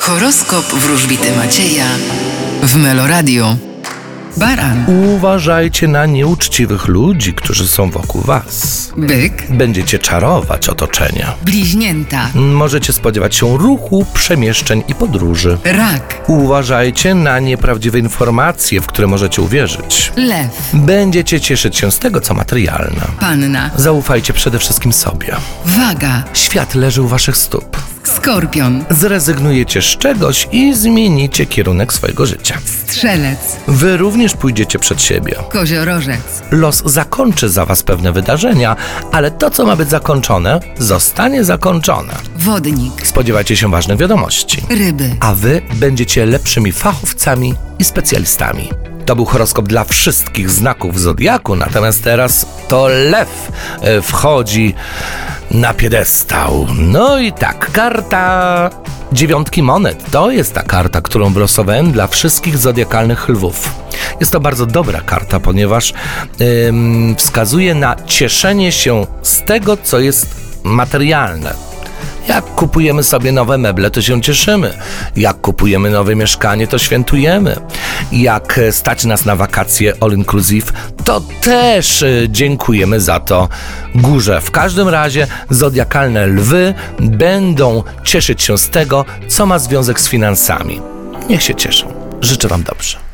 Horoskop wróżbity Macieja w Meloradio. Baran, Uważajcie na nieuczciwych ludzi, którzy są wokół was. byk, Będziecie czarować otoczenia. bliźnięta, Możecie spodziewać się ruchu, przemieszczeń i podróży. rak, Uważajcie na nieprawdziwe informacje, w które możecie uwierzyć. lew, Będziecie cieszyć się z tego, co materialne. panna, Zaufajcie przede wszystkim sobie. waga, Świat leży u waszych stóp. skorpion, Zrezygnujecie z czegoś i zmienicie kierunek swojego życia. strzelec, Wy również pójdziecie przed siebie. koziorożec, Los zakończy za was pewne wydarzenia, ale to, co ma być zakończone, zostanie zakończone. wodnik, Spodziewacie się ważnych wiadomości, ryby. a wy będziecie lepszymi fachowcami i specjalistami. To był horoskop dla wszystkich znaków zodiaku, natomiast teraz to lew e, wchodzi na piedestał. No i tak, karta dziewiątki monet to jest ta karta, którą wylosowałem dla wszystkich zodiakalnych lwów. Jest to bardzo dobra karta, ponieważ ym, wskazuje na cieszenie się z tego, co jest materialne. Jak kupujemy sobie nowe meble, to się cieszymy. Jak kupujemy nowe mieszkanie, to świętujemy. Jak e, stać nas na wakacje all inclusive, to też e, dziękujemy za to górze. W każdym razie zodiakalne lwy będą cieszyć się z tego, co ma związek z finansami. Niech się cieszą. Życzę Wam dobrze.